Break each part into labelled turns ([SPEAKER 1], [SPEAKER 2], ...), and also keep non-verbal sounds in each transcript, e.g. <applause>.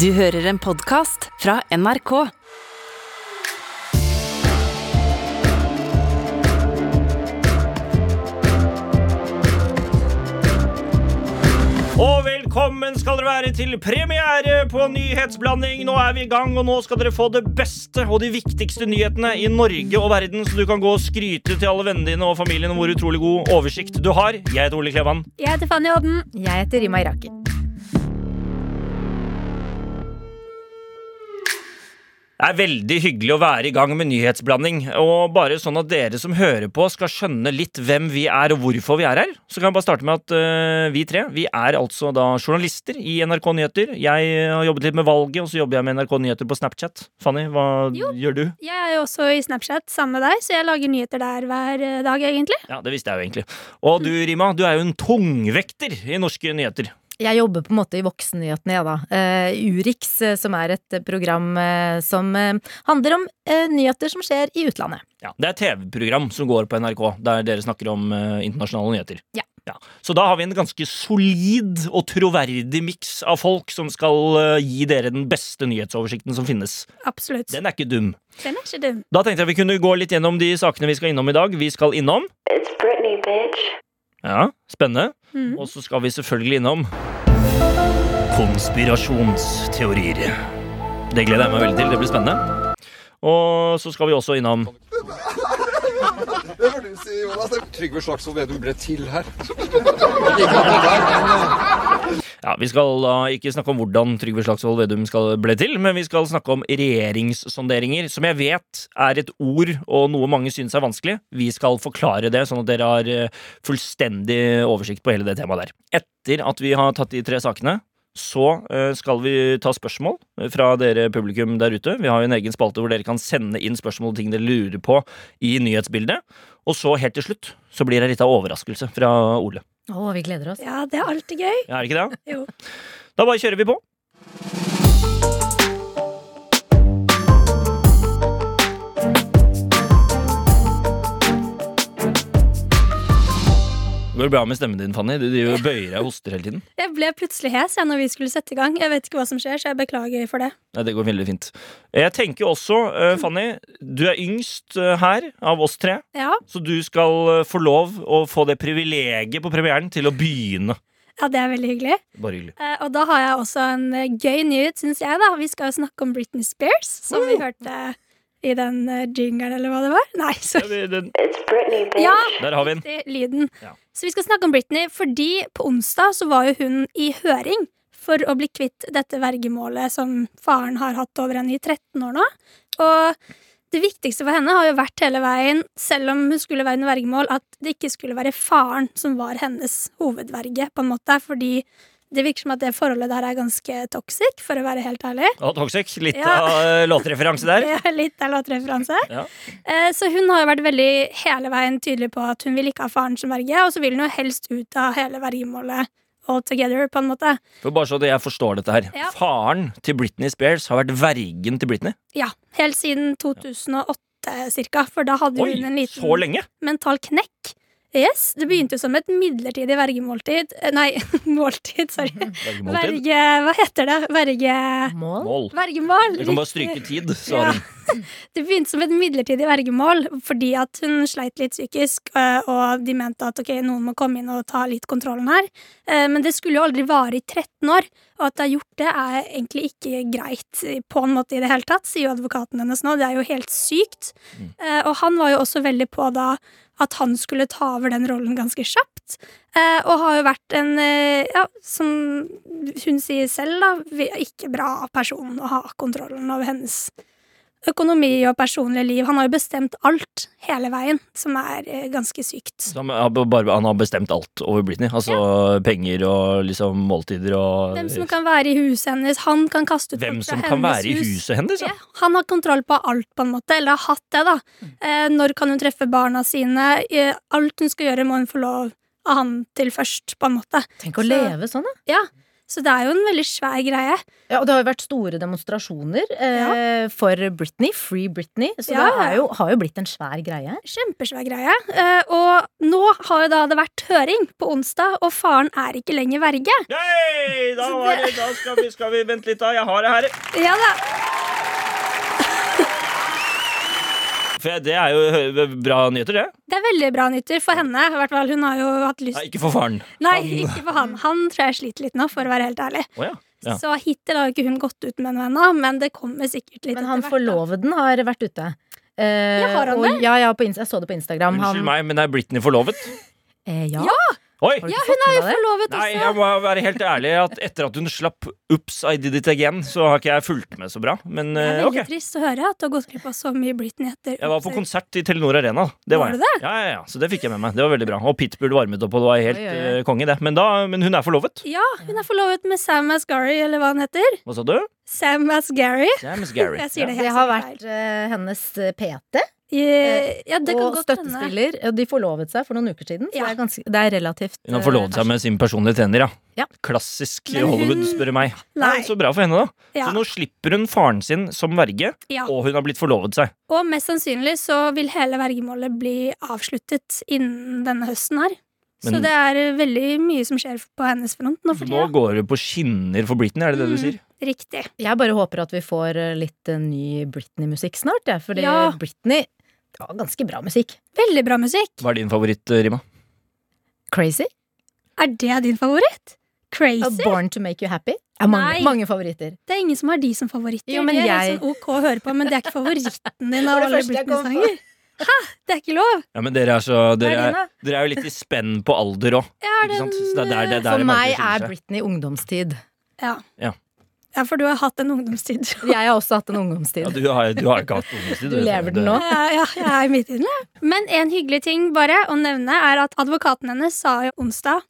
[SPEAKER 1] Du hører en podkast fra NRK.
[SPEAKER 2] Og velkommen skal dere være til premiere på Nyhetsblanding. Nå er vi i gang, og nå skal dere få det beste og de viktigste nyhetene i Norge og verden, så du kan gå og skryte til alle vennene dine og familien om hvor utrolig god oversikt du har. Jeg heter Ole Klevan.
[SPEAKER 3] Jeg heter Fanny Odden. Jeg heter Rima Iraki.
[SPEAKER 2] Det er veldig hyggelig å være i gang med nyhetsblanding. Og bare sånn at dere som hører på, skal skjønne litt hvem vi er og hvorfor vi er her, så kan jeg bare starte med at øh, vi tre vi er altså da journalister i NRK Nyheter. Jeg øh, har jobbet litt med valget, og så jobber jeg med NRK Nyheter på Snapchat. Fanny, hva
[SPEAKER 3] Jo.
[SPEAKER 2] gjør du?
[SPEAKER 3] Jeg er jo også i Snapchat sammen med deg, så jeg lager nyheter der hver eh, dag, egentlig.
[SPEAKER 2] Ja, det visste jeg jo egentlig. Og du, Rima, du er jo en tungvekter i norske nyheter.
[SPEAKER 4] Jeg jobber på en måte i voksennyhetene, jeg, da. Eh, Urix, eh, som er et eh, program eh, som eh, handler om eh, nyheter som skjer i utlandet.
[SPEAKER 2] Ja, det er et TV-program som går på NRK, der dere snakker om eh, internasjonale nyheter.
[SPEAKER 4] Ja.
[SPEAKER 2] Så da har vi en ganske solid og troverdig miks av folk som skal eh, gi dere den beste nyhetsoversikten som finnes.
[SPEAKER 3] Absolutt. Den,
[SPEAKER 2] Den er ikke dum.
[SPEAKER 3] er ikke dum.
[SPEAKER 2] Da tenkte jeg vi kunne gå litt gjennom de sakene vi skal innom i dag. Vi skal innom
[SPEAKER 5] It's Britney, bitch.
[SPEAKER 2] Ja, spennende.
[SPEAKER 3] Mhm.
[SPEAKER 2] Og så skal vi selvfølgelig innom konspirasjonsteorier. Det gleder jeg meg veldig til. Det blir spennende. Og så skal vi også innom
[SPEAKER 6] Det får du si, Jonas. Trygve Slagsvold Vedum ble til her.
[SPEAKER 2] Ja, Vi skal da ikke snakke om hvordan Trygve Slagsvold Vedum skal ble til, men vi skal snakke om regjeringssonderinger, som jeg vet er et ord og noe mange synes er vanskelig. Vi skal forklare det, sånn at dere har eh, fullstendig oversikt på hele det temaet der. Etter at vi har tatt de tre sakene, så eh, skal vi ta spørsmål eh, fra dere publikum der ute. Vi har jo en egen spalte hvor dere kan sende inn spørsmål og ting dere lurer på i nyhetsbildet. Og så helt til slutt så blir det litt av overraskelse fra Ole.
[SPEAKER 4] Å, vi gleder oss.
[SPEAKER 3] Ja, det er alltid gøy.
[SPEAKER 2] Ja, Er det ikke det?
[SPEAKER 3] Jo.
[SPEAKER 2] Da bare kjører vi på. Går det bra med stemmen din, Fanny? Du driver og bøyer deg og hoster hele tiden.
[SPEAKER 3] Jeg ble plutselig hes jeg, når vi skulle sette i gang. Jeg vet ikke hva som skjer, så jeg beklager for det.
[SPEAKER 2] Nei, det går veldig fint. Jeg tenker jo også, eh, Fanny, du er yngst eh, her av oss tre.
[SPEAKER 3] Ja,
[SPEAKER 2] Så du skal eh, få lov å få det privilegiet på premieren til å begynne.
[SPEAKER 3] ja det er veldig hyggelig.
[SPEAKER 2] Bare hyggelig.
[SPEAKER 3] Eh, og da har jeg også en eh, gøy nyhet, syns jeg, da. Vi skal jo snakke om Britney Spears, som vi hørte i den eh, jingeren, eller hva det var. Nei,
[SPEAKER 2] Ja,
[SPEAKER 3] sorry.
[SPEAKER 2] vi- den-
[SPEAKER 5] It's Britney, bitch.
[SPEAKER 3] Ja,
[SPEAKER 2] Der har vi den.
[SPEAKER 3] riktig lyden.
[SPEAKER 2] Ja.
[SPEAKER 3] Så vi skal snakke om Britney, fordi på onsdag så var jo hun i høring for å bli kvitt dette vergemålet som faren har hatt over henne i 13 år nå. Og det viktigste for henne har jo vært hele veien, selv om hun skulle være under vergemål, at det ikke skulle være faren som var hennes hovedverge, på en måte. Fordi det virker som at det forholdet der er ganske toxic, for å være helt ærlig.
[SPEAKER 2] Ja, Toxic. Litt
[SPEAKER 3] Ja.
[SPEAKER 2] av eh, låtreferanse der.
[SPEAKER 3] Ja, litt av låtreferanse.
[SPEAKER 2] Ja.
[SPEAKER 3] Eh, Så hun har jo vært veldig hele veien tydelig på at hun vil ikke ha faren som verge, og så vil hun jo helst ut av hele vergemålet all together, på en måte.
[SPEAKER 2] For bare så at jeg forstår dette her
[SPEAKER 3] Ja.
[SPEAKER 2] Faren til Britney Spears har vært vergen til Britney.
[SPEAKER 3] Ja, helt siden 2008 cirka, for da hadde
[SPEAKER 2] Oi,
[SPEAKER 3] hun en liten
[SPEAKER 2] så lenge!
[SPEAKER 3] mental knekk. Yes, Det begynte jo som et midlertidig vergemåltid Eh, Nei, <laughs> måltid, sorry.
[SPEAKER 2] Vergemåltid.
[SPEAKER 3] Verge... Hva heter det? Verge...
[SPEAKER 4] Mål?
[SPEAKER 2] Mål.
[SPEAKER 3] Vergemål!
[SPEAKER 2] Du kan bare stryke tid, så
[SPEAKER 3] Ja.
[SPEAKER 2] har hun
[SPEAKER 3] Det begynte som et midlertidig vergemål fordi at hun sleit litt psykisk, øh, og de mente at ok, noen må komme inn og ta litt kontrollen her. Eh, Men det skulle jo aldri vare i 13 år, og at det har gjort det, er egentlig ikke greit eh, på en måte i det hele tatt, sier jo advokaten hennes nå. Det er jo helt sykt. Eh, Og han var jo også veldig på da at han skulle ta over den rollen ganske kjapt. eh, Og har jo vært en, eh, ja, som hun sier selv, da, vi- ikke bra person å ha kontrollen over hennes økonomi og personlige liv. Han har jo bestemt alt hele veien, som er eh, ganske sykt.
[SPEAKER 2] så han har bare, han har bestemt alt over Britney. Altså penger og liksom måltider og
[SPEAKER 3] Hvem som kan være i huset hennes, han kan kaste ut
[SPEAKER 2] Hvem
[SPEAKER 3] folk fra
[SPEAKER 2] som kan
[SPEAKER 3] hennes
[SPEAKER 2] være i
[SPEAKER 3] hus.
[SPEAKER 2] huset altså. hennes. Ja.
[SPEAKER 3] Ja, han har kontroll på alt, på en måte. Eller har hatt det, da. Eh, når kan hun treffe barna sine? Eh, alt hun skal gjøre, må hun få lov av han til først, på en måte.
[SPEAKER 4] Tenk å
[SPEAKER 3] Så-
[SPEAKER 4] leve sånn, da!
[SPEAKER 3] Ja. Så det er jo en veldig svær greie.
[SPEAKER 4] Ja, og det har jo vært store demonstrasjoner eh, for Britney, Free Britney, så det
[SPEAKER 3] Ja.
[SPEAKER 4] er jo, har jo blitt en svær greie.
[SPEAKER 3] Kjempesvær greie. Eh, og nå har jo da det vært høring på onsdag, og faren er ikke lenger verge.
[SPEAKER 2] Nei, da,
[SPEAKER 3] Så
[SPEAKER 2] var
[SPEAKER 3] det-
[SPEAKER 2] det, da skal, vi, skal vi vente litt, da. Jeg har det her.
[SPEAKER 3] Ja da.
[SPEAKER 2] For jeg- det er jo hø- bra nyheter, det.
[SPEAKER 3] Det er veldig bra nyheter for henne. I hvert fall, Hun har jo hatt lyst
[SPEAKER 2] Nei, ikke for faren.
[SPEAKER 3] Nei,
[SPEAKER 2] Han-
[SPEAKER 3] ikke for han. Han tror jeg sliter litt nå, for å være helt ærlig.
[SPEAKER 2] Å ja. Ja.
[SPEAKER 3] Så hittil har jo ikke hun gått ut med noe ennå, men det kommer sikkert litt
[SPEAKER 4] Men han
[SPEAKER 3] etter hvert, da.
[SPEAKER 4] forloveden har vært ute. Eh,
[SPEAKER 3] Ja, har han
[SPEAKER 4] og, Ja, ja, på, Inst- jeg så det på Instagram. han,
[SPEAKER 2] Unnskyld meg, men er Britney forlovet?
[SPEAKER 4] Eh, ja.
[SPEAKER 3] Ja,
[SPEAKER 2] Oi!
[SPEAKER 4] Har du ikke fått med deg det?
[SPEAKER 3] Forlovet
[SPEAKER 2] Nei,
[SPEAKER 3] også.
[SPEAKER 2] jeg må være helt ærlig at etter at hun slapp Ups, I did it again, så har ikke jeg fulgt med så bra. Men
[SPEAKER 3] Det
[SPEAKER 2] eh,
[SPEAKER 3] er veldig
[SPEAKER 2] ok.
[SPEAKER 3] trist å høre at du har gått glipp av så mye Britney etter
[SPEAKER 2] Jeg var på konsert i Telenor Arena. Det
[SPEAKER 3] Var
[SPEAKER 2] var
[SPEAKER 3] du
[SPEAKER 2] jeg. Ja, ja, ja, Så det fikk jeg med meg. Det var veldig bra. Og Pitbull varmet opp, og det var helt
[SPEAKER 4] Oi, oi, oi.
[SPEAKER 2] eh, konge, det. Men, da, men hun er forlovet.
[SPEAKER 3] Ja, hun er forlovet med Sam Asghari, eller hva han heter.
[SPEAKER 2] Hva sa du?
[SPEAKER 3] Sam Asghari.
[SPEAKER 2] Det er Miss Gary.
[SPEAKER 3] Jeg sier det helt
[SPEAKER 4] Det har
[SPEAKER 3] sikkert
[SPEAKER 4] vært eh, hennes eh, PT
[SPEAKER 3] feil. Ja, det kan
[SPEAKER 4] Eh, og
[SPEAKER 3] godt hende.
[SPEAKER 4] støttespiller. Og de forlovet seg for noen uker siden, så
[SPEAKER 3] Ja.
[SPEAKER 4] det, er ganske, det er relativt eh,
[SPEAKER 2] Hun har forlovet seg med sin personlige trener, ja.
[SPEAKER 4] Ja.
[SPEAKER 2] Klassisk
[SPEAKER 3] Men hun-
[SPEAKER 2] Hollywood, spør du meg.
[SPEAKER 3] Nei.
[SPEAKER 2] Nei, Så bra for henne, da.
[SPEAKER 3] Ja.
[SPEAKER 2] Så nå slipper hun faren sin som verge,
[SPEAKER 3] Ja.
[SPEAKER 2] og hun har blitt forlovet seg.
[SPEAKER 3] Og mest sannsynlig så vil hele vergemålet bli avsluttet innen denne høsten her. så
[SPEAKER 2] Men-
[SPEAKER 3] det er eh, veldig mye som skjer på hennes front nå for
[SPEAKER 2] Nå
[SPEAKER 3] tida.
[SPEAKER 2] går det på skinner for Britney, er det det du
[SPEAKER 3] Mm.
[SPEAKER 2] sier?
[SPEAKER 3] Riktig.
[SPEAKER 4] Jeg bare håper at vi får eh, litt eh, ny Britney-musikk snart, jeg. Fordi
[SPEAKER 3] Ja.
[SPEAKER 4] Britney har ganske bra musikk.
[SPEAKER 3] Veldig bra musikk.
[SPEAKER 2] Hva er din favoritt, eh, Rima?
[SPEAKER 4] Crazy.
[SPEAKER 3] Er det din favoritt?
[SPEAKER 4] A
[SPEAKER 3] Crazy?
[SPEAKER 4] Born to make you happy. Er mange,
[SPEAKER 3] Nei.
[SPEAKER 4] mange favoritter.
[SPEAKER 3] Det er ingen som har de som favoritter.
[SPEAKER 4] Jo, men
[SPEAKER 3] det er
[SPEAKER 4] jeg-
[SPEAKER 3] sånn ok å høre på, men det er ikke favoritten
[SPEAKER 4] <laughs>
[SPEAKER 3] din
[SPEAKER 4] var
[SPEAKER 3] av
[SPEAKER 4] det
[SPEAKER 3] alle
[SPEAKER 4] første jeg kom på.
[SPEAKER 3] Britney-sanger. Hæ? Det er ikke lov!
[SPEAKER 2] Ja, men dere er, så, dere,
[SPEAKER 4] din,
[SPEAKER 2] er, dere er jo litt i spenn på alder òg.
[SPEAKER 3] har den,
[SPEAKER 4] For meg er Britney ungdomstid.
[SPEAKER 3] Ja.
[SPEAKER 2] Ja.
[SPEAKER 3] ja, for du har hatt en ungdomstid.
[SPEAKER 4] Jeg har også hatt en
[SPEAKER 2] ja,
[SPEAKER 4] ungdomstid.
[SPEAKER 2] du, har, du har ikke hatt ungdomstid.
[SPEAKER 4] Du lever den nå.
[SPEAKER 3] Ja, ja, jeg er midt i den. jeg. Men en hyggelig ting bare å nevne er at advokaten hennes sa jo onsdag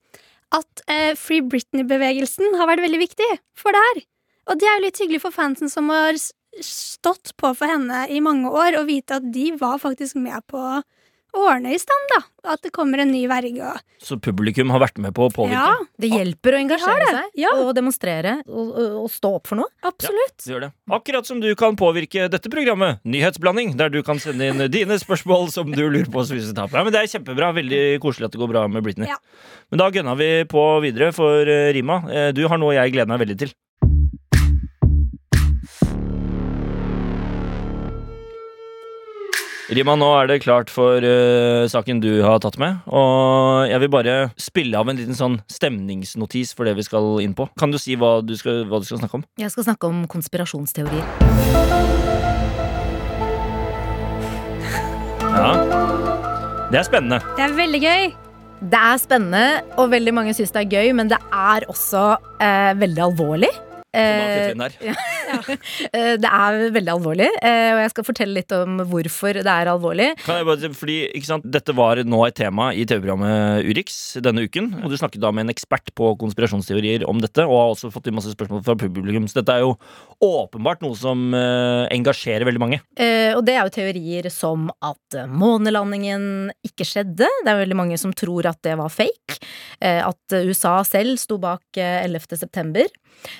[SPEAKER 3] at eh, Free Britney-bevegelsen har vært veldig viktig for det her. Og det er jo litt hyggelig for fansen som har s- stått på for henne i mange år, og vite at de var faktisk med på å ordne i stand, da. At det kommer en ny verge og
[SPEAKER 2] Så publikum har vært med på å påvirke?
[SPEAKER 3] Ja,
[SPEAKER 4] Det hjelper å engasjere
[SPEAKER 3] det.
[SPEAKER 4] seg
[SPEAKER 3] Ja.
[SPEAKER 4] og demonstrere og, og, og stå opp for noe.
[SPEAKER 3] absolutt.
[SPEAKER 2] Det Mm. gjør det. Akkurat som du kan påvirke dette programmet, Nyhetsblanding, der du kan sende inn dine spørsmål som du lurer på. Så hvis du tar på. Nei, men det er kjempebra. Veldig koselig at det går bra med Britney.
[SPEAKER 3] Ja.
[SPEAKER 2] Men da gønna vi på videre for eh, Rima. eh, Du har noe jeg gleder meg veldig til. Rima, nå er det klart for eh, saken du har tatt med. Og jeg vil bare spille av en liten sånn stemningsnotis for det vi skal inn på. Kan du si hva du skal, hva du skal snakke om?
[SPEAKER 4] Jeg skal snakke om konspirasjonsteorier.
[SPEAKER 2] Ja. Det er spennende.
[SPEAKER 3] Det er veldig gøy.
[SPEAKER 4] Det er spennende, og veldig mange syns det er gøy, men det er også eh, veldig alvorlig. Eh, eh, det er veldig alvorlig, eh, og jeg skal fortelle litt om hvorfor det er alvorlig.
[SPEAKER 2] Kan jeg bare, si- fordi, ikke sant? Dette var nå et tema i TV-programmet Urix denne uken. Og du snakket da med en ekspert på konspirasjonsteorier om dette, og har også fått inn masse spørsmål fra publikum. Så dette er jo åpenbart noe som eh, engasjerer veldig mange.
[SPEAKER 4] Eh, og det er jo teorier som at eh, månelandingen ikke skjedde. Det er veldig mange som tror at det var fake. Eh, at eh, USA selv sto bak eh, 11. september.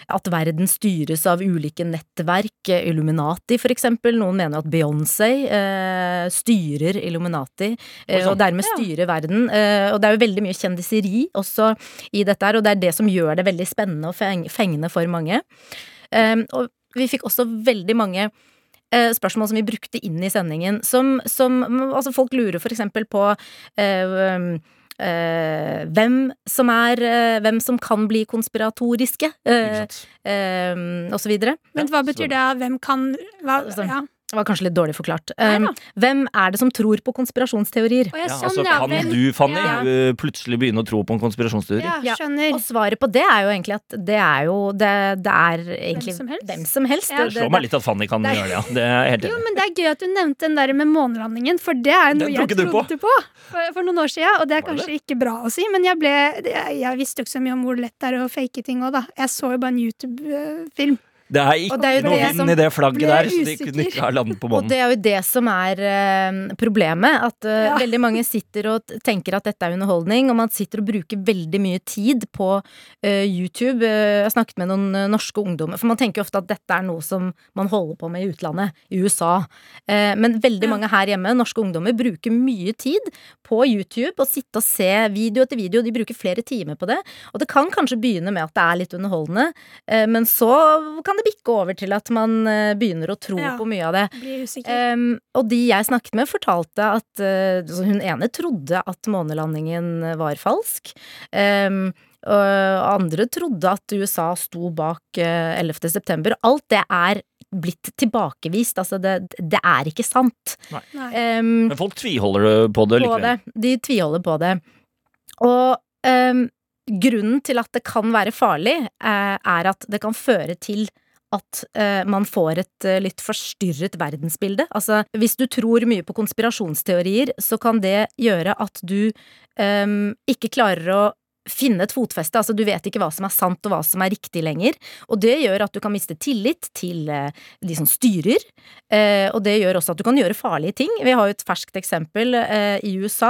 [SPEAKER 4] At verden styres av ulike nettverk, eh, Illuminati for eksempel. Noen mener at Beyoncé eh, styrer Illuminati, eh,
[SPEAKER 2] Oi, sånn.
[SPEAKER 4] og dermed
[SPEAKER 3] Ja.
[SPEAKER 4] styrer verden. Eh, og det er jo veldig mye kjendiseri også i dette her, og det er det som gjør det veldig spennende og feng fengende for mange. Eh, og vi fikk også veldig mange eh, spørsmål som vi brukte inn i sendingen. Som, som altså folk lurer for eksempel på eh, um, eh, hvem som er eh, Hvem som kan bli konspiratoriske, eh,
[SPEAKER 2] Ikke sant?
[SPEAKER 4] eh, og så videre.
[SPEAKER 3] Men hva betyr det? Hvem kan hva,
[SPEAKER 4] Altså,
[SPEAKER 3] ja. sånn.
[SPEAKER 4] Det var kanskje litt dårlig forklart.
[SPEAKER 3] Nei da.
[SPEAKER 4] Um, hvem er det som tror på konspirasjonsteorier?
[SPEAKER 3] Å, jeg
[SPEAKER 2] Ja, altså,
[SPEAKER 3] skjønner, ja,
[SPEAKER 2] kan
[SPEAKER 3] hvem-
[SPEAKER 2] du, Fanny,
[SPEAKER 3] Ja.
[SPEAKER 2] eh, plutselig begynne å tro på en konspirasjonsteori?
[SPEAKER 3] Ja,
[SPEAKER 4] Ja.
[SPEAKER 3] skjønner.
[SPEAKER 4] Og svaret på det er jo egentlig at det er jo Det, det er egentlig
[SPEAKER 3] som helst.
[SPEAKER 4] hvem som helst.
[SPEAKER 3] Ja.
[SPEAKER 4] Det-
[SPEAKER 2] Det slår
[SPEAKER 4] det-
[SPEAKER 2] meg litt at Fanny kan
[SPEAKER 4] Nei.
[SPEAKER 2] gjøre det. ja. Det er jeg helt
[SPEAKER 3] Jo,
[SPEAKER 2] enig. i.
[SPEAKER 3] men Det er gøy at du nevnte den der med månelandingen, for det er jo noe
[SPEAKER 2] Den
[SPEAKER 3] jeg
[SPEAKER 2] tok ikke du på.
[SPEAKER 3] trodde på for, for noen år siden. Og det er
[SPEAKER 2] Var det
[SPEAKER 3] kanskje ikke bra å si, men jeg, ble, jeg, jeg visste jo ikke så mye om hvor lett det er å fake ting òg, da. Jeg så jo bare en YouTube-film.
[SPEAKER 2] Det er ikke
[SPEAKER 4] Og det er jo
[SPEAKER 2] noe
[SPEAKER 4] det
[SPEAKER 2] vind
[SPEAKER 4] som
[SPEAKER 2] i det flagget
[SPEAKER 3] ble
[SPEAKER 2] der, så de
[SPEAKER 3] usikker.
[SPEAKER 2] kunne ikke ha landet på
[SPEAKER 4] Og
[SPEAKER 2] månen.
[SPEAKER 4] det er jo det som er eh, problemet. At eh,
[SPEAKER 3] Ja.
[SPEAKER 4] veldig mange sitter og t- tenker at dette er underholdning, og man sitter og bruker veldig mye tid på eh, YouTube. Eh, jeg har snakket med noen eh, norske ungdommer, for man tenker jo ofte at dette er noe som man holder på med i utlandet, i USA. Eh, men veldig mange her hjemme, norske ungdommer, bruker mye tid på YouTube og sitte og se video etter video. De bruker flere timer på det. Og det kan kanskje begynne med at det er litt underholdende, eh, men så kan det bikke over til at man eh, begynner å tro
[SPEAKER 3] Ja.
[SPEAKER 4] på mye av det.
[SPEAKER 3] Blir usikker.
[SPEAKER 4] Em, Ehm, og de jeg snakket med, fortalte at eh, så hun ene trodde at månelandingen var falsk. Em, og andre trodde at USA sto bak eh, 11. september. Alt det er blitt tilbakevist. Altså, det, det er ikke sant. Ehm,
[SPEAKER 3] Nei.
[SPEAKER 4] Em,
[SPEAKER 2] Men folk tviholder på det
[SPEAKER 4] på
[SPEAKER 2] likevel.
[SPEAKER 4] det. De tviholder på det. Og em, grunnen til at det kan være farlig, eh, er at det kan føre til at eh, man får et eh, litt forstyrret verdensbilde. Altså, hvis du tror mye på konspirasjonsteorier, så kan det gjøre at du em, ikke klarer å finne et fotfeste. Altså, du vet ikke hva som er sant og hva som er riktig lenger. Og det gjør at du kan miste tillit til eh, de som styrer. Eh, og det gjør også at du kan gjøre farlige ting. Vi har jo et ferskt eksempel eh, i USA.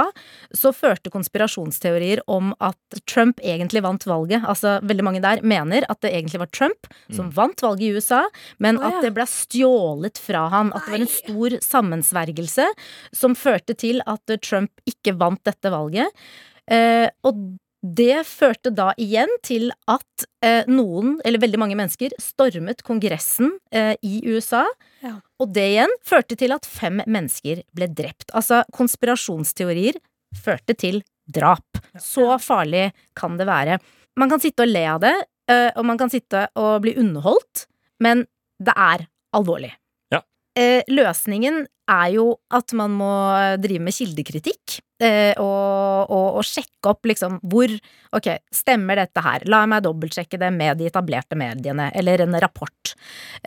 [SPEAKER 4] Så førte konspirasjonsteorier om at Trump egentlig vant valget. Altså veldig mange der mener at det egentlig var Trump som vant valget i USA, men
[SPEAKER 3] Mm. Å, ja.
[SPEAKER 4] at det ble stjålet fra han. At det var en stor sammensvergelse som førte til at eh, Trump ikke vant dette valget. Eh, og det førte da igjen til at eh, noen, eller veldig mange mennesker, stormet Kongressen eh, i USA.
[SPEAKER 3] Ja.
[SPEAKER 4] Og det igjen førte til at fem mennesker ble drept. Altså, konspirasjonsteorier førte til drap. Så farlig kan det være. Man kan sitte og le av det, eh, og man kan sitte og bli underholdt, men det er alvorlig.
[SPEAKER 2] Ja.
[SPEAKER 4] Eh, Løsningen er jo at man må drive med kildekritikk. eh, Og, og, og sjekke opp liksom hvor Ok, stemmer dette her? La meg dobbeltsjekke det med de etablerte mediene, eller en rapport.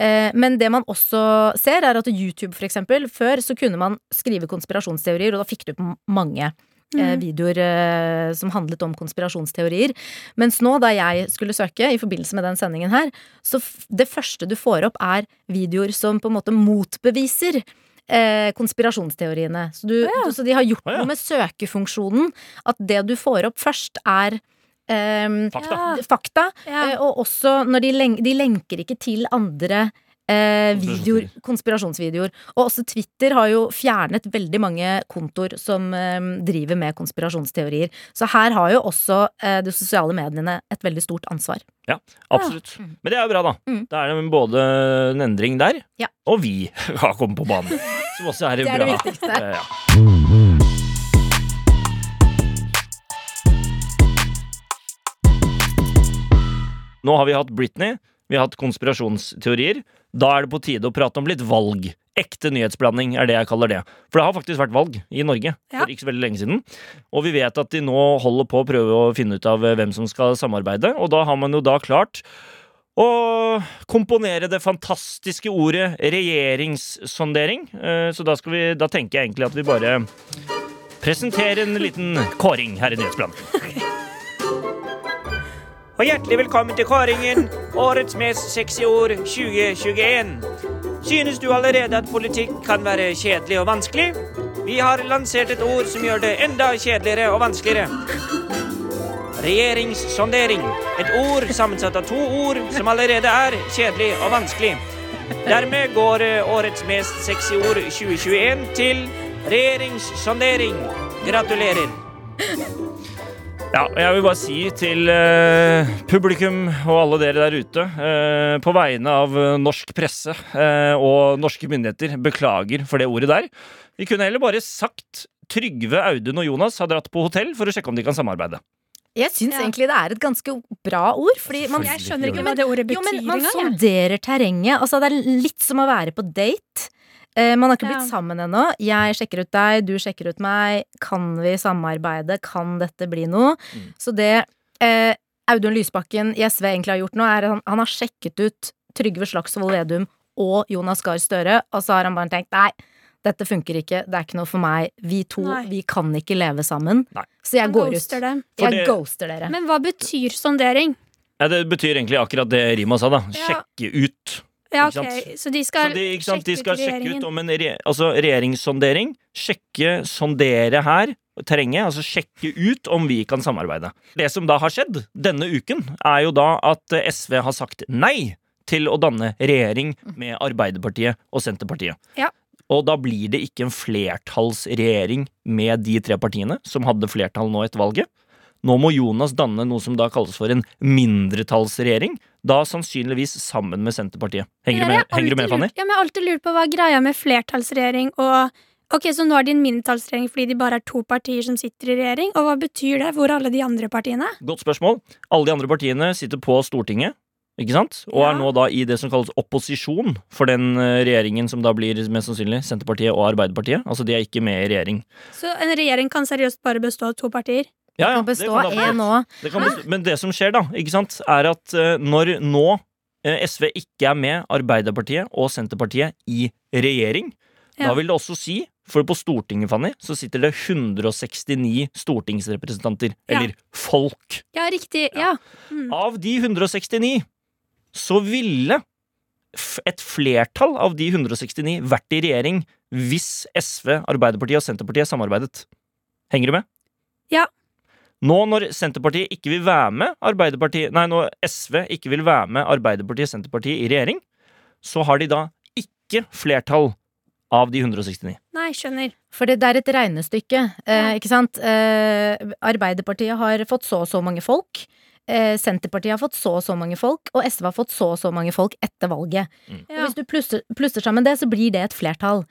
[SPEAKER 4] Eh, Men det man også ser, er at YouTube, for eksempel, før så kunne man skrive konspirasjonsteorier, og da fikk du opp mange eh,
[SPEAKER 3] Mm.
[SPEAKER 4] videoer eh, som handlet om konspirasjonsteorier. Mens nå, da jeg skulle søke i forbindelse med den sendingen her, så f det første du får opp, er videoer som på en måte motbeviser. Eh, konspirasjonsteoriene. Så, du, du- så de har gjort
[SPEAKER 2] Å, ja.
[SPEAKER 4] noe med søkefunksjonen. At det du får opp først, er ehm,
[SPEAKER 2] Fakta.
[SPEAKER 3] Ja.
[SPEAKER 4] fakta.
[SPEAKER 3] Ja.
[SPEAKER 4] Eh, Og også når de, len de lenker ikke til andre eh, videoer,
[SPEAKER 2] Konspirasjonsvideoer.
[SPEAKER 4] konspirasjonsvideoer. Og også Twitter har jo fjernet veldig mange kontor som eh, driver med konspirasjonsteorier. Så her har jo også eh, de sosiale mediene et veldig stort ansvar.
[SPEAKER 2] Absolutt.
[SPEAKER 4] Ja. Mm.
[SPEAKER 2] Men det er jo bra, da.
[SPEAKER 4] Mm.
[SPEAKER 2] Da er det både en endring der,
[SPEAKER 4] Ja.
[SPEAKER 2] og vi <laughs> har kommet på
[SPEAKER 4] <laughs>
[SPEAKER 2] banen. Som også er,
[SPEAKER 4] Det er
[SPEAKER 2] bra.
[SPEAKER 4] det viktigste.
[SPEAKER 2] Eh, ja. Nå har vi hatt Britney, vi har hatt konspirasjonsteorier. Da er det på tide å prate om litt valg. Ekte nyhetsblanding er det jeg kaller det. For det har faktisk vært valg i Norge
[SPEAKER 3] Ja.
[SPEAKER 2] for ikke så veldig lenge siden. Og vi vet at de nå holder på å prøve å finne ut av eh, hvem som skal samarbeide, og da har man jo da klart å komponere det fantastiske ordet regjeringssondering. Eh, Så da, skal vi, da tenker jeg egentlig at vi bare presenterer en liten kåring her i Nyhetsbladet.
[SPEAKER 7] <laughs> Og hjertelig velkommen til kåringen. Årets mest sexy ord 2021. Synes du allerede at politikk kan være kjedelig og vanskelig? Vi har lansert et ord som gjør det enda kjedeligere og vanskeligere. Regjeringssondering. Et ord sammensatt av to ord som allerede er kjedelig og vanskelig. Dermed går eh, årets mest sexy ord 2021 til regjeringssondering. Gratulerer.
[SPEAKER 2] Ja, og jeg vil bare si til eh, publikum og alle dere der ute, eh, på vegne av eh, norsk presse eh, og norske myndigheter, beklager for det ordet der. Vi kunne heller bare sagt Trygve, Audun og Jonas har dratt på hotell for å sjekke om de kan samarbeide.
[SPEAKER 4] Jeg syns
[SPEAKER 3] Ja.
[SPEAKER 4] egentlig det er et ganske bra ord, fordi man
[SPEAKER 3] Jeg skjønner ikke hva det ordet
[SPEAKER 4] Jo,
[SPEAKER 3] betyr
[SPEAKER 4] men man
[SPEAKER 3] engang. jeg.
[SPEAKER 4] sonderer terrenget. Altså, det er litt som å være på date. Eh, man har ikke
[SPEAKER 3] Ja.
[SPEAKER 4] blitt sammen ennå. Jeg sjekker ut deg, du sjekker ut meg. Kan vi samarbeide? Kan dette bli noe?
[SPEAKER 2] Mm.
[SPEAKER 4] Så det eh, Audun Lysbakken i SV egentlig har gjort nå, er at han, han har sjekket ut Trygve Slagsvold Vedum og Jonas Gahr Støre, og så har han bare tenkt nei. Dette funker ikke, det er ikke noe for meg. Vi to,
[SPEAKER 3] Nei.
[SPEAKER 4] vi kan ikke leve sammen.
[SPEAKER 2] Nei.
[SPEAKER 4] Så jeg
[SPEAKER 3] Han
[SPEAKER 4] går ut.
[SPEAKER 3] ghoster det.
[SPEAKER 2] For
[SPEAKER 4] Jeg
[SPEAKER 2] det-
[SPEAKER 4] ghoster dere.
[SPEAKER 3] Men hva betyr sondering?
[SPEAKER 2] Ja, det betyr egentlig akkurat det Rima sa, da.
[SPEAKER 3] Ja.
[SPEAKER 2] Sjekke ut.
[SPEAKER 3] Ja,
[SPEAKER 2] Ikke sant?
[SPEAKER 3] ok. Så
[SPEAKER 2] Så
[SPEAKER 3] de skal,
[SPEAKER 2] de, ikke sant? de skal sjekke ut
[SPEAKER 3] regjeringen.
[SPEAKER 2] om en re altså, regjeringssondering. Sjekke, sondere her, terrenget. Altså sjekke ut om vi kan samarbeide. Det som da har skjedd denne uken, er jo da at eh, SV har sagt nei til å danne regjering med Arbeiderpartiet og Senterpartiet.
[SPEAKER 3] Mm. Ja.
[SPEAKER 2] Og da blir det ikke en flertallsregjering med de tre partiene som hadde flertall nå etter valget. Nå må Jonas danne noe som da kalles for en mindretallsregjering, da sannsynligvis sammen med Senterpartiet. Henger du
[SPEAKER 3] Jeg har
[SPEAKER 2] med, henger du
[SPEAKER 3] alltid
[SPEAKER 2] med Fanny?
[SPEAKER 3] lurt- Ja, men jeg har alltid lurt på hva greia med flertallsregjering og Ok, Så nå er de en mindretallsregjering fordi de bare er to partier som sitter i regjering? Og hva betyr det? Hvor er alle de andre partiene?
[SPEAKER 2] Godt spørsmål. Alle de andre partiene sitter på Stortinget, ikke sant? Og
[SPEAKER 3] Ja.
[SPEAKER 2] er nå da i det som kalles opposisjon for den eh, regjeringen som da blir mest sannsynlig Senterpartiet og Arbeiderpartiet. Altså de er ikke med i regjering.
[SPEAKER 3] Så en regjering kan seriøst bare bestå av to partier?
[SPEAKER 2] Ja, ja,
[SPEAKER 4] kan
[SPEAKER 2] det
[SPEAKER 4] bestå
[SPEAKER 2] kan
[SPEAKER 4] av
[SPEAKER 2] da-
[SPEAKER 4] én òg.
[SPEAKER 2] det kan bestå- Men det som skjer da, ikke sant, er at eh, når nå eh, SV ikke er med Arbeiderpartiet og Senterpartiet i regjering,
[SPEAKER 3] Ja.
[SPEAKER 2] da vil det også si for på Stortinget, Fanny, så sitter det 169 stortingsrepresentanter,
[SPEAKER 3] Ja.
[SPEAKER 2] eller folk,
[SPEAKER 3] Ja, riktig. Ja.
[SPEAKER 2] Av de 169 så ville f- et flertall av de 169 vært i regjering hvis SV, Arbeiderpartiet og Senterpartiet samarbeidet. Henger du med?
[SPEAKER 3] Ja.
[SPEAKER 2] Nå når Senterpartiet ikke vil være med Arbeiderpartiet Nei, når SV ikke vil være med Arbeiderpartiet og Senterpartiet i regjering, så har de da ikke flertall av de 169.
[SPEAKER 3] Nei, skjønner.
[SPEAKER 4] For det er et regnestykke, eh,
[SPEAKER 3] Ja.
[SPEAKER 4] ikke sant? Eh, Arbeiderpartiet har fått så og så mange folk. Eh, Senterpartiet har fått så og så mange folk, og SV har fått så og så mange folk etter valget. Og
[SPEAKER 2] Mm.
[SPEAKER 3] Ja.
[SPEAKER 4] hvis du plusser, plusser sammen det, så blir det et flertall.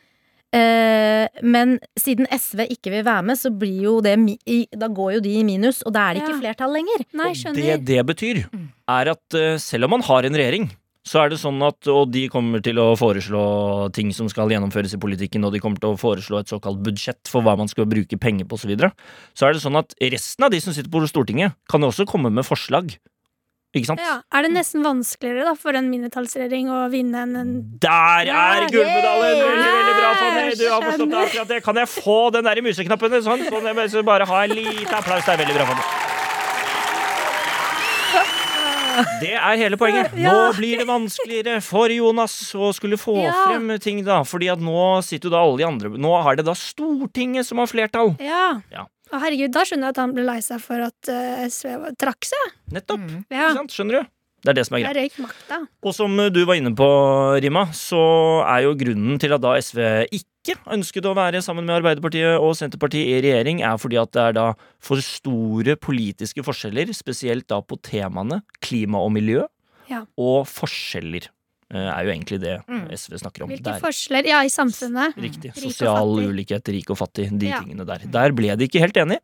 [SPEAKER 4] Eh, men siden SV ikke vil være med, så blir jo det mi i, Da går jo de i minus, og da er det ikke
[SPEAKER 3] Ja.
[SPEAKER 4] flertall lenger.
[SPEAKER 3] Nei,
[SPEAKER 2] Og det
[SPEAKER 3] skjønner.
[SPEAKER 2] det betyr, er at eh, selv om man har en regjering, så er det sånn at, og de kommer til å foreslå ting som skal gjennomføres i politikken, og de kommer til å foreslå et såkalt budsjett for hva man skal bruke penger på, osv., så, videre, så er det sånn at resten av de som sitter på Stortinget, kan jo også komme med forslag. Ikke sant?
[SPEAKER 3] Ja. Er det nesten vanskeligere da for en mindretallsregjering å vinne enn en
[SPEAKER 2] Der er
[SPEAKER 3] Ja,
[SPEAKER 2] gullmedaljen!
[SPEAKER 3] yay!
[SPEAKER 2] Veldig, veldig bra, Fanny.
[SPEAKER 3] Ja,
[SPEAKER 2] Du har forstått det
[SPEAKER 3] skjønner.
[SPEAKER 2] akkurat det. Kan jeg få den der i museknappen? Sånn, sånn, jeg bare- så bare ha en liten applaus. Det er veldig bra, Fanny. Det er hele poenget. Nå blir det vanskeligere for Jonas å skulle få
[SPEAKER 3] Ja.
[SPEAKER 2] frem ting, da. Fordi at nå sitter jo da alle de andre Nå er det da Stortinget som har flertall.
[SPEAKER 3] Ja.
[SPEAKER 2] Ja.
[SPEAKER 3] Å, herregud, da skjønner jeg at han ble lei seg for at eh, SV var- trakk seg.
[SPEAKER 2] Nettopp.
[SPEAKER 3] Ja.
[SPEAKER 2] Ikke sant? Skjønner du? Det er det som er greit.
[SPEAKER 3] Der røyk makta.
[SPEAKER 2] Og som du var inne på, Rima, så er jo grunnen til at da SV ikke ønsket å være sammen med Arbeiderpartiet og Senterpartiet i regjering, er fordi at det er da for store politiske forskjeller, spesielt da på temaene klima og miljø,
[SPEAKER 3] Ja.
[SPEAKER 2] og forskjeller eh, er jo egentlig det
[SPEAKER 4] Mm.
[SPEAKER 2] SV snakker om.
[SPEAKER 3] Hvilke
[SPEAKER 2] Der.
[SPEAKER 3] forskjeller Ja, i samfunnet.
[SPEAKER 2] Riktig.
[SPEAKER 3] Mm. Rik og
[SPEAKER 2] Sosial
[SPEAKER 3] fattig.
[SPEAKER 2] ulikhet, rik og fattig, de
[SPEAKER 3] Ja.
[SPEAKER 2] tingene der. Der ble de ikke helt enige.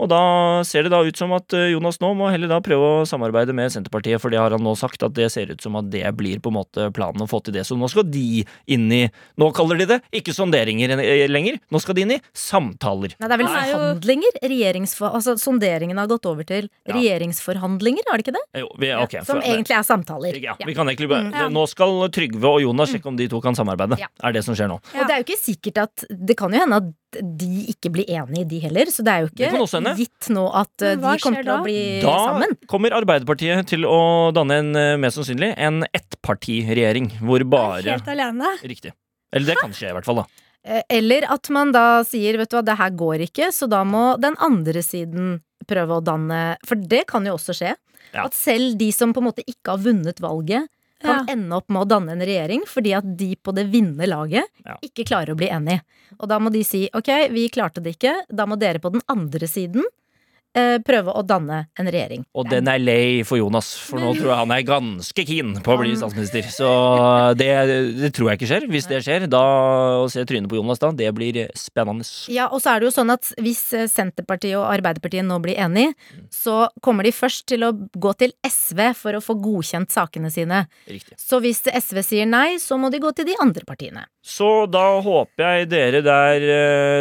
[SPEAKER 2] Og da ser det da ut som at eh, Jonas nå må heller da prøve å samarbeide med Senterpartiet, for det har han nå sagt at det ser ut som at det blir på en måte planen å få til det. Så nå skal de inn i Nå kaller de det ikke sonderinger eh, lenger, nå skal de inn i samtaler.
[SPEAKER 4] Nei, det er vel
[SPEAKER 3] Han er jo-
[SPEAKER 4] forhandlinger? Regjeringsfor altså, sonderingen har gått over til
[SPEAKER 2] Ja.
[SPEAKER 4] regjeringsforhandlinger, har det ikke det?
[SPEAKER 2] Eh, Jo, vi, ok,
[SPEAKER 4] Som
[SPEAKER 2] for-
[SPEAKER 4] egentlig er samtaler.
[SPEAKER 2] ja,
[SPEAKER 4] Ja.
[SPEAKER 2] vi kan egentlig bare,
[SPEAKER 3] Mm.
[SPEAKER 2] Nå skal Trygve og Jonas sjekke om de to kan samarbeide.
[SPEAKER 4] Ja.
[SPEAKER 2] er det som skjer nå.
[SPEAKER 3] Ja.
[SPEAKER 4] Og det er jo ikke sikkert at Det kan jo hende at de ikke blir enige, de heller. Så det er jo
[SPEAKER 2] Det kan også
[SPEAKER 4] ikke
[SPEAKER 2] hende.
[SPEAKER 4] gitt nå at eh,
[SPEAKER 3] Men hva
[SPEAKER 4] de kommer
[SPEAKER 3] skjer
[SPEAKER 4] til å
[SPEAKER 3] da?
[SPEAKER 4] bli
[SPEAKER 2] Da
[SPEAKER 4] sammen.
[SPEAKER 2] kommer Arbeiderpartiet til å danne en, eh, mest sannsynlig, en ettpartiregjering, hvor bare
[SPEAKER 3] Helt alene.
[SPEAKER 2] Riktig. Eller det kan skje, i hvert fall. da
[SPEAKER 4] Eh, Eller at man da sier vet du hva, det her går ikke, så da må den andre siden prøve å danne For det kan jo også skje.
[SPEAKER 2] Ja.
[SPEAKER 4] At selv de som på en måte ikke har vunnet valget, kan
[SPEAKER 3] Ja.
[SPEAKER 4] ende opp med å danne en regjering fordi at de på det vinnende laget
[SPEAKER 2] Ja.
[SPEAKER 4] ikke klarer å bli enige. Og da må de si ok, vi klarte det ikke, da må dere på den andre siden eh, prøve å danne en regjering.
[SPEAKER 2] Og den er lei for Jonas, for nå tror jeg han er ganske keen på å bli statsminister. Så det, det tror jeg ikke skjer. Hvis det skjer, da å se trynet på Jonas da, det blir spennende.
[SPEAKER 4] Ja, og så er det jo sånn at hvis eh, Senterpartiet og Arbeiderpartiet nå blir enige,
[SPEAKER 2] Mm.
[SPEAKER 4] så kommer de først til å gå til SV for å få godkjent sakene sine.
[SPEAKER 2] Riktig.
[SPEAKER 4] Så hvis SV sier nei, så må de gå til de andre partiene.
[SPEAKER 2] Så da håper jeg dere der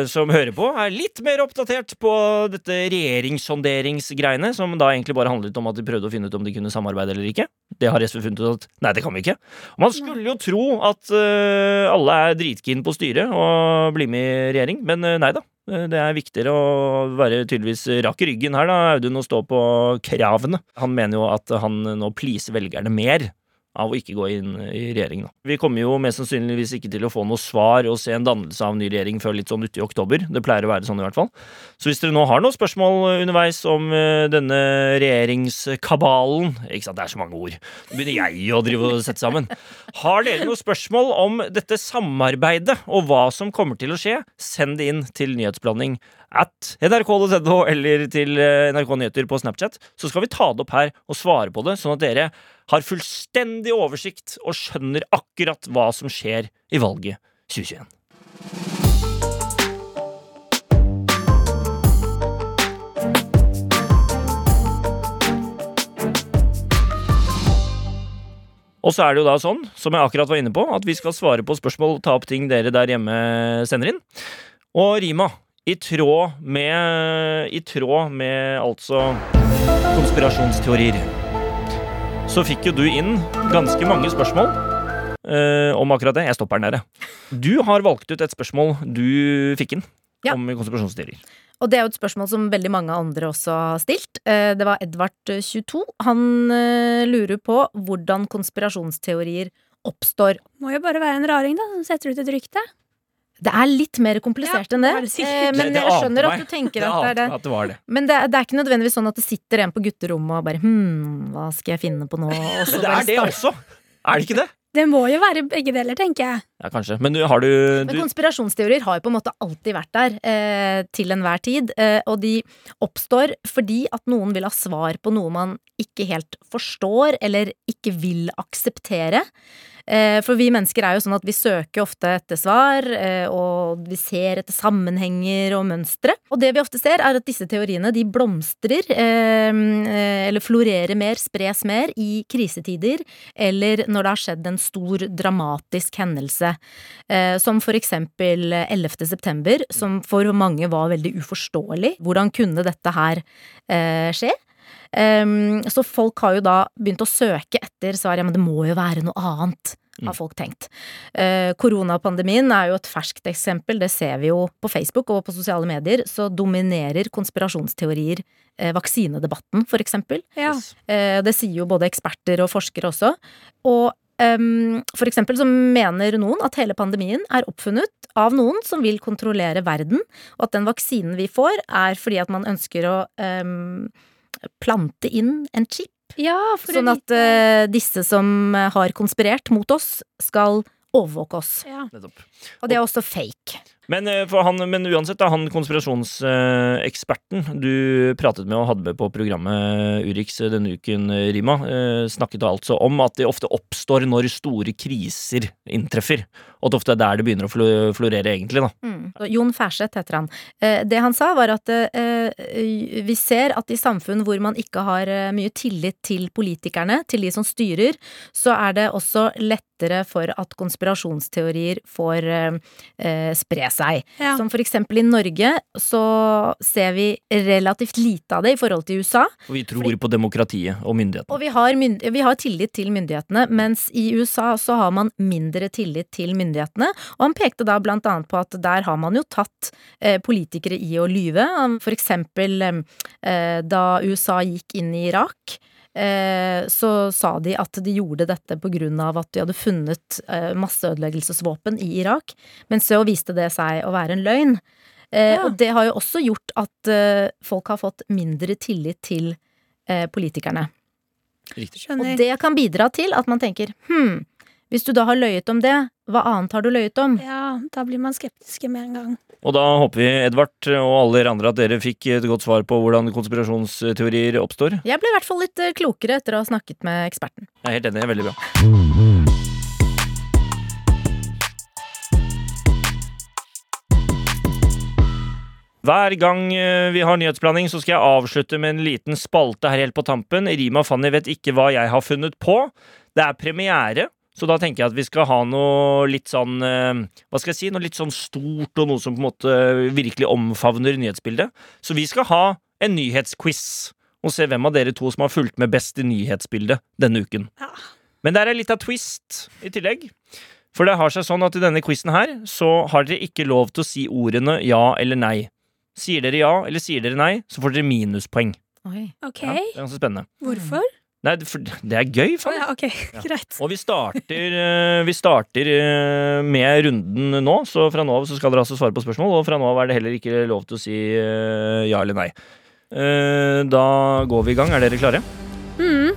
[SPEAKER 2] eh, som hører på, er litt mer oppdatert på dette regjeringssonderingsgreiene, som da egentlig bare handlet om at de prøvde å finne ut om de kunne samarbeide eller ikke. Det har SV funnet ut at nei, det kan vi ikke. Og man skulle jo tro at eh, alle er dritkeen på å styre og bli med i regjering, men eh, nei da. Eh, Det er viktigere å være tydeligvis rak i ryggen her, da, Audun, og stå på kravene. Han mener jo at han nå pleaser velgerne mer av å ikke gå inn i regjering, da. Vi kommer jo mest sannsynligvis ikke til å få noe svar og se en dannelse av en ny regjering før litt sånn uti oktober. Det pleier å være sånn, i hvert fall. Så hvis dere nå har noen spørsmål underveis om eh, denne regjeringskabalen Ikke sant, det er så mange ord. Nå begynner jeg å drive og sette sammen. Har dere noen spørsmål om dette samarbeidet og hva som kommer til å skje, send det inn til nyhetsblanding at nrk.no eller til eh, NRK Nyheter på Snapchat, så skal vi ta det opp her og svare på det, sånn at dere har fullstendig oversikt og skjønner akkurat hva som skjer i valget 2021. Og så er det jo da sånn, som jeg akkurat var inne på, at vi skal svare på spørsmål og ta opp ting dere der hjemme sender inn. Og Rima, i tråd med I tråd med altså konspirasjonsteorier, så fikk jo du inn ganske mange spørsmål. eh, om akkurat det. Jeg stopper den der. jeg. Du har valgt ut et spørsmål du fikk inn
[SPEAKER 4] Ja.
[SPEAKER 2] om konspirasjonsteorier.
[SPEAKER 4] Og det er jo et spørsmål som veldig mange andre også har stilt. Eh, Det var Edvard eh, 22. Han eh, lurer på hvordan konspirasjonsteorier oppstår.
[SPEAKER 3] Må jo bare være en raring, da, som setter ut et rykte.
[SPEAKER 4] Det er litt mer komplisert enn det,
[SPEAKER 3] det er sikkert.
[SPEAKER 4] eh, men
[SPEAKER 2] Det- det
[SPEAKER 4] jeg
[SPEAKER 2] ante
[SPEAKER 4] skjønner at
[SPEAKER 2] meg.
[SPEAKER 4] du tenker at det er det.
[SPEAKER 2] at det var det.
[SPEAKER 4] Men det, er- det er ikke nødvendigvis sånn at det sitter en på gutterommet og bare hm, hva skal jeg finne på nå? Og så
[SPEAKER 2] Men <laughs> det
[SPEAKER 4] bare
[SPEAKER 2] er det
[SPEAKER 4] starter.
[SPEAKER 2] også! Er det ikke det?
[SPEAKER 3] Det må jo være begge deler, tenker jeg.
[SPEAKER 2] Ja, kanskje. Men du, har du,
[SPEAKER 4] Men
[SPEAKER 2] du
[SPEAKER 4] konspirasjonsteorier har jo på en måte alltid vært der eh, til enhver tid. Eh, og de oppstår fordi at noen vil ha svar på noe man ikke helt forstår eller ikke vil akseptere. Eh, for vi mennesker er jo sånn at vi søker ofte etter svar, eh, og vi ser etter sammenhenger og mønstre. Og det vi ofte ser, er at disse teoriene de blomstrer, eh, eh, eller florerer mer, spres mer, i krisetider eller når det har skjedd en stor dramatisk hendelse. Eh, Som for eksempel eh, 11. september, som for mange var veldig uforståelig. Hvordan kunne dette her eh, skje? Ehm, så folk har jo da begynt å søke etter svar. Ja, men det må jo være noe annet, har folk tenkt. Eh, koronapandemien er jo et ferskt eksempel. Det ser vi jo på Facebook og på sosiale medier. Så dominerer konspirasjonsteorier eh, vaksinedebatten, for eksempel.
[SPEAKER 3] Ja.
[SPEAKER 4] Eh, Det sier jo både eksperter og forskere også. Og em, for eksempel så mener noen at hele pandemien er oppfunnet av noen som vil kontrollere verden, og at den vaksinen vi får, er fordi at man ønsker å em, plante inn en chip.
[SPEAKER 3] ja for å
[SPEAKER 4] Sånn at
[SPEAKER 3] vite-
[SPEAKER 4] eh, disse som har konspirert mot oss, skal overvåke oss.
[SPEAKER 3] ja.
[SPEAKER 2] Nettopp.
[SPEAKER 4] Og det er også fake.
[SPEAKER 2] Men, eh, for han, men uansett, da, han konspirasjonseksperten du pratet med og hadde med på programmet eh, Urix denne uken, eh, Rima, eh, snakket altså om at det ofte oppstår når store kriser inntreffer. Og at det ofte er der det begynner å flo- florere, egentlig. da.
[SPEAKER 4] Og Jon Færseth heter han. Eh, Det han sa var at eh, vi ser at i samfunn hvor man ikke har eh, mye tillit til politikerne, til de som styrer, så er det også lettere for at konspirasjonsteorier får eh, eh, spre seg.
[SPEAKER 3] Ja.
[SPEAKER 4] Som for eksempel i Norge så ser vi relativt lite av det i forhold til USA.
[SPEAKER 2] Og vi tror på demokratiet og myndighetene.
[SPEAKER 4] Og vi har, mynd vi har tillit til myndighetene, mens i USA så har man mindre tillit til myndighetene. Og han pekte da blant annet på at der har man jo tatt eh, politikere i å lyve. Han- For eksempel eh, eh, da USA gikk inn i Irak. eh, Så sa de at de gjorde dette på grunn av at de hadde funnet eh, masseødeleggelsesvåpen i Irak, men så viste det seg å være en løgn. Eh,
[SPEAKER 3] Ja.
[SPEAKER 4] Og det har jo også gjort at eh, folk har fått mindre tillit til eh, politikerne.
[SPEAKER 2] Riktig.
[SPEAKER 3] Skjønner.
[SPEAKER 4] Og det kan bidra til at man tenker hm, hvis du da har løyet om det, hva annet har du løyet om?
[SPEAKER 3] ja, da blir man skeptiske med en gang.
[SPEAKER 2] Og da håper vi, Edvard og alle dere andre, at dere fikk et godt svar på hvordan konspirasjonsteorier oppstår.
[SPEAKER 4] Jeg ble i hvert fall litt eh, klokere etter å ha snakket med eksperten.
[SPEAKER 2] Jeg er helt enig. Veldig bra. Hver gang eh, vi har nyhetsblanding, så skal jeg avslutte med en liten spalte her helt på tampen. Rima Fanny vet ikke hva jeg har funnet på. Det er premiere, så da tenker jeg at vi skal ha noe litt sånn eh, Hva skal jeg si? Noe litt sånn stort, og noe som på en måte virkelig omfavner nyhetsbildet. Så vi skal ha en nyhetsquiz, og se hvem av dere to som har fulgt med best i nyhetsbildet denne uken.
[SPEAKER 3] Ja.
[SPEAKER 2] Men der er litt av twist i tillegg. For det har seg sånn at i denne quizen her så har dere ikke lov til å si ordene ja eller nei. Sier dere ja eller sier dere nei, så får dere minuspoeng.
[SPEAKER 4] Oi.
[SPEAKER 3] Ok,
[SPEAKER 2] Ja, det er ganske spennende.
[SPEAKER 3] hvorfor?
[SPEAKER 2] Nei, det- for det er gøy,
[SPEAKER 3] Å
[SPEAKER 2] faen.
[SPEAKER 3] ja, ok,
[SPEAKER 2] Ja.
[SPEAKER 3] <laughs> greit.
[SPEAKER 2] Og vi starter, eh, vi starter eh, med runden nå, så fra nå av så skal dere altså svare på spørsmål. Og fra nå av er det heller ikke lov til å si eh, ja eller nei. Eh, Da går vi i gang. Er dere klare?
[SPEAKER 3] Mm.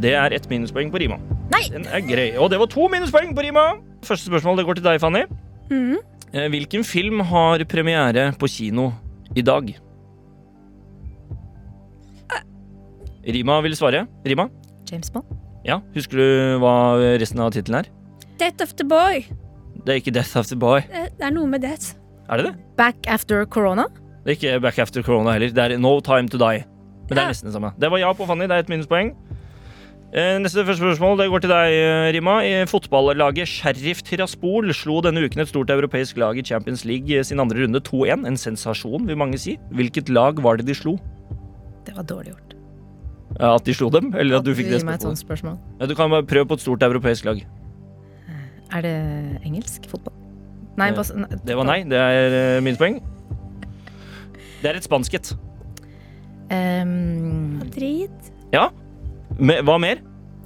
[SPEAKER 2] Det er ett minuspoeng på rima.
[SPEAKER 4] Nei!
[SPEAKER 2] Den er grei. Og det var to minuspoeng på rima! Første spørsmål det går til deg, Fanny.
[SPEAKER 3] Mm.
[SPEAKER 2] Eh, Hvilken film har premiere på kino i dag?
[SPEAKER 3] Eh.
[SPEAKER 2] Rima vil svare. Rima?
[SPEAKER 4] James Bond.
[SPEAKER 2] Ja, Husker du hva resten av tittelen er?
[SPEAKER 3] Death of the boy.
[SPEAKER 2] Det er ikke Death After Boy.
[SPEAKER 3] Det det er noe med det.
[SPEAKER 2] Er det det?
[SPEAKER 4] Back after corona.
[SPEAKER 2] Det er ikke Back After Corona heller. Det er No Time To Die. Men det er nesten det samme. Det var ja på Fanny. Det er et minuspoeng. Eh, Neste første spørsmål det går til deg, eh, Rima. Eh, Fotballaget Sheriff Tiraspol slo denne uken et stort europeisk lag i Champions League eh, sin andre runde 2-1. En sensasjon, vil mange si. Hvilket lag var det de slo?
[SPEAKER 4] Det var dårlig gjort.
[SPEAKER 2] Eh, At de slo dem? Eller at du fikk det
[SPEAKER 4] Gi meg et sånt
[SPEAKER 2] spørsmålet?
[SPEAKER 4] spørsmål.
[SPEAKER 2] Ja, Du kan bare prøve på et stort europeisk lag.
[SPEAKER 4] Er det engelsk fotball? Nei,
[SPEAKER 2] Eh,
[SPEAKER 4] bas- nei,
[SPEAKER 2] Det var nei. Det er eh, minuspoeng. Det er et spansk et.
[SPEAKER 4] Ehm,
[SPEAKER 3] Madrid.
[SPEAKER 2] Ja. Me- Hva mer?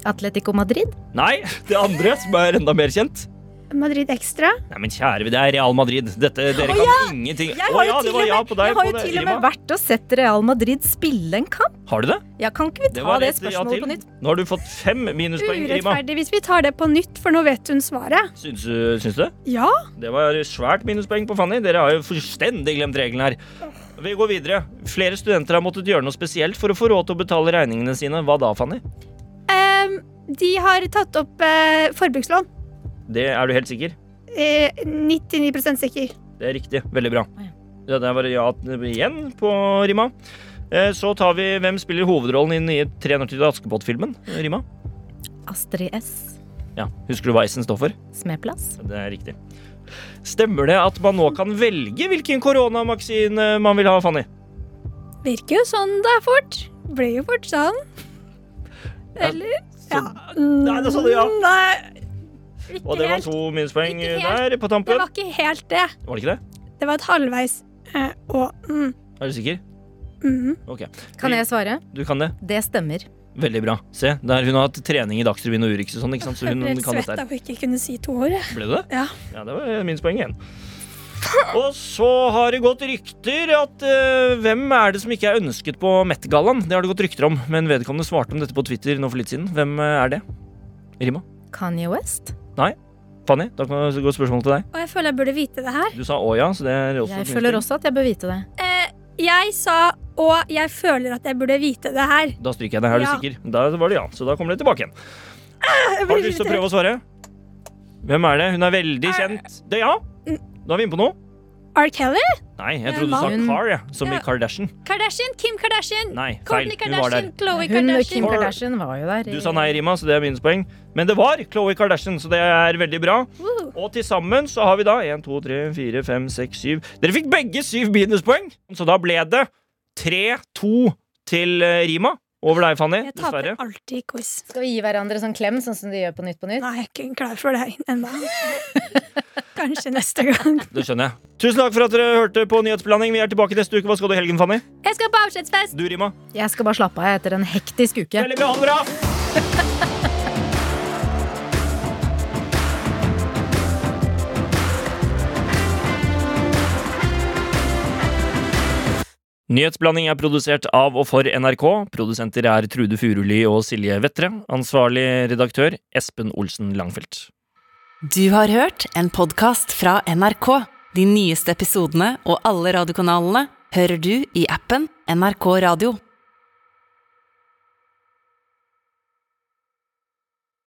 [SPEAKER 4] Atletico Madrid?
[SPEAKER 2] Nei. Det andre, som er enda mer kjent.
[SPEAKER 3] Madrid Extra.
[SPEAKER 2] Nei, men kjære, det er Real Madrid. Dette, dere
[SPEAKER 4] Å,
[SPEAKER 2] kan
[SPEAKER 4] ja!
[SPEAKER 2] ingenting.
[SPEAKER 4] Jeg
[SPEAKER 2] Å,
[SPEAKER 4] har jo
[SPEAKER 2] ja, det
[SPEAKER 4] til
[SPEAKER 2] var
[SPEAKER 4] og
[SPEAKER 2] ja
[SPEAKER 4] med,
[SPEAKER 2] på deg,
[SPEAKER 4] jeg har jo
[SPEAKER 2] på det,
[SPEAKER 4] til og
[SPEAKER 2] Rima.
[SPEAKER 4] med vært og sett Real Madrid spille en kamp.
[SPEAKER 2] Har du det?
[SPEAKER 4] Ja, kan ikke vi ta
[SPEAKER 2] Det var
[SPEAKER 4] det,
[SPEAKER 2] ett ja
[SPEAKER 4] spørsmålet
[SPEAKER 2] til.
[SPEAKER 4] på nytt?
[SPEAKER 2] Nå har du fått fem minuspoeng, Rima.
[SPEAKER 3] Urettferdig hvis vi tar det på nytt, for nå vet hun svaret.
[SPEAKER 2] Syns, du- syns du det?
[SPEAKER 3] Ja.
[SPEAKER 2] Det var svært minuspoeng på Fanny. Dere har jo fullstendig glemt reglene her. Vi går videre. Flere studenter har måttet gjøre noe spesielt for å få råd til å betale regningene sine. Hva da, Fanny?
[SPEAKER 3] Ehm, de har tatt opp eh, forbrukslån.
[SPEAKER 2] Det er du helt sikker?
[SPEAKER 3] Eh, 99 sikker.
[SPEAKER 2] Det er riktig. Veldig bra.
[SPEAKER 4] ja.
[SPEAKER 2] Ja, der var det ja igjen på Rima. Eh, Så tar vi Hvem spiller hovedrollen i den nye 300 til Askepott-filmen? Rima?
[SPEAKER 4] Astrid S.
[SPEAKER 2] Ja. Husker du hva S-en står for?
[SPEAKER 4] Smeplass.
[SPEAKER 2] Det er riktig. Stemmer det at man nå kan velge hvilken koronamaksine man vil ha, Fanny?
[SPEAKER 3] Virker jo sånn da, fort. Blir jo fort sånn. Eller
[SPEAKER 2] Så, Nei, det sa du ja.
[SPEAKER 3] Nei. Ikke
[SPEAKER 2] Og det var
[SPEAKER 3] helt.
[SPEAKER 2] to minuspoeng
[SPEAKER 3] Ikke helt.
[SPEAKER 2] der på
[SPEAKER 3] Det
[SPEAKER 2] tampen.
[SPEAKER 3] var ikke helt det.
[SPEAKER 2] Var det ikke det?
[SPEAKER 3] Det var et halvveis eh, og mm,
[SPEAKER 2] Er du sikker?
[SPEAKER 3] mm.
[SPEAKER 2] Ok.
[SPEAKER 4] Kan jeg svare?
[SPEAKER 2] Du kan det.
[SPEAKER 4] Det stemmer.
[SPEAKER 2] Veldig bra. Se, der hun har hatt trening i Dagsrevyen og Urix og sånn, ikke sant? Så
[SPEAKER 3] Jeg
[SPEAKER 2] hun
[SPEAKER 3] ble helt
[SPEAKER 2] kan dette
[SPEAKER 3] svett
[SPEAKER 2] her.
[SPEAKER 3] av å ikke kunne si to ord. jeg.
[SPEAKER 2] Ble du det?
[SPEAKER 3] Ja.
[SPEAKER 2] Ja, det var minuspoeng igjen. Og så har det gått rykter at eh, hvem er det som ikke er ønsket på Met-gallaen? Det har det gått rykter om, men vedkommende svarte om dette på Twitter nå for litt siden. Hvem eh, er det? Rima?
[SPEAKER 4] Kanye West?
[SPEAKER 2] Fanny, da kan det gå et spørsmål til deg.
[SPEAKER 3] Og jeg føler jeg burde vite det her.
[SPEAKER 2] Du sa å ja, så det er også
[SPEAKER 4] Jeg
[SPEAKER 2] et
[SPEAKER 4] føler
[SPEAKER 2] minuspoeng.
[SPEAKER 4] også at jeg bør vite det.
[SPEAKER 3] Eh, jeg sa og jeg føler at jeg burde vite det her.
[SPEAKER 2] Da stryker jeg deg, er du
[SPEAKER 3] Ja.
[SPEAKER 2] sikker? Da var det ja, så da kommer det tilbake igjen. Har du lyst til å prøve å svare? Hvem er det? Hun er veldig kjent. Det er ja!
[SPEAKER 3] Mm.
[SPEAKER 2] Nå er vi inne på noe.
[SPEAKER 3] R. Kelly?
[SPEAKER 2] Nei, jeg
[SPEAKER 3] Eh,
[SPEAKER 2] trodde du sa
[SPEAKER 4] mann.
[SPEAKER 2] Car, ja, som i
[SPEAKER 3] Ja.
[SPEAKER 2] Kardashian.
[SPEAKER 3] Kardashian? Kim Kardashian?
[SPEAKER 2] Nei, feil.
[SPEAKER 3] Kourtney
[SPEAKER 2] Hun var der.
[SPEAKER 3] Kardashian? Khloe
[SPEAKER 4] Hun og Kim
[SPEAKER 3] Kardashian?
[SPEAKER 2] Or-
[SPEAKER 4] Kardashian var jo der.
[SPEAKER 2] Du sa nei, Rima, så det er minuspoeng. Men det var Khloé Kardashian, så det er veldig bra.
[SPEAKER 3] Woo.
[SPEAKER 2] Og til sammen så har vi da 1, 2, 3, 4, 5, 6, 7 Dere fikk begge 7 minuspoeng! Så da ble det 3-2 til eh, Rima. Over deg, Fanny.
[SPEAKER 3] Jeg taper
[SPEAKER 2] Dessverre.
[SPEAKER 3] alltid i quiz.
[SPEAKER 4] Skal vi gi hverandre sånn klem, sånn som de gjør på Nytt på Nytt?
[SPEAKER 3] Nei, jeg er ikke klar for det
[SPEAKER 2] <laughs>
[SPEAKER 3] ennå. Kanskje
[SPEAKER 4] <laughs>
[SPEAKER 3] neste gang.
[SPEAKER 2] Det skjønner jeg. Tusen takk for at dere hørte på Nyhetsblanding. Vi er tilbake neste uke. Hva skal du i helgen, Fanny?
[SPEAKER 3] Jeg skal på avskjedsfest!
[SPEAKER 2] Du, Rima?
[SPEAKER 4] Jeg skal bare slappe av etter en hektisk uke.
[SPEAKER 2] Veldig bra. Ha det bra! Nyhetsblanding er produsert av og for NRK. Produsenter er Trude Furuli og Silje Vettre. Ansvarlig redaktør Espen Olsen Langfelt.
[SPEAKER 1] Du har hørt en podcast fra NRK. De nyeste episodene og alle radiokanalene hører du i appen NRK Radio.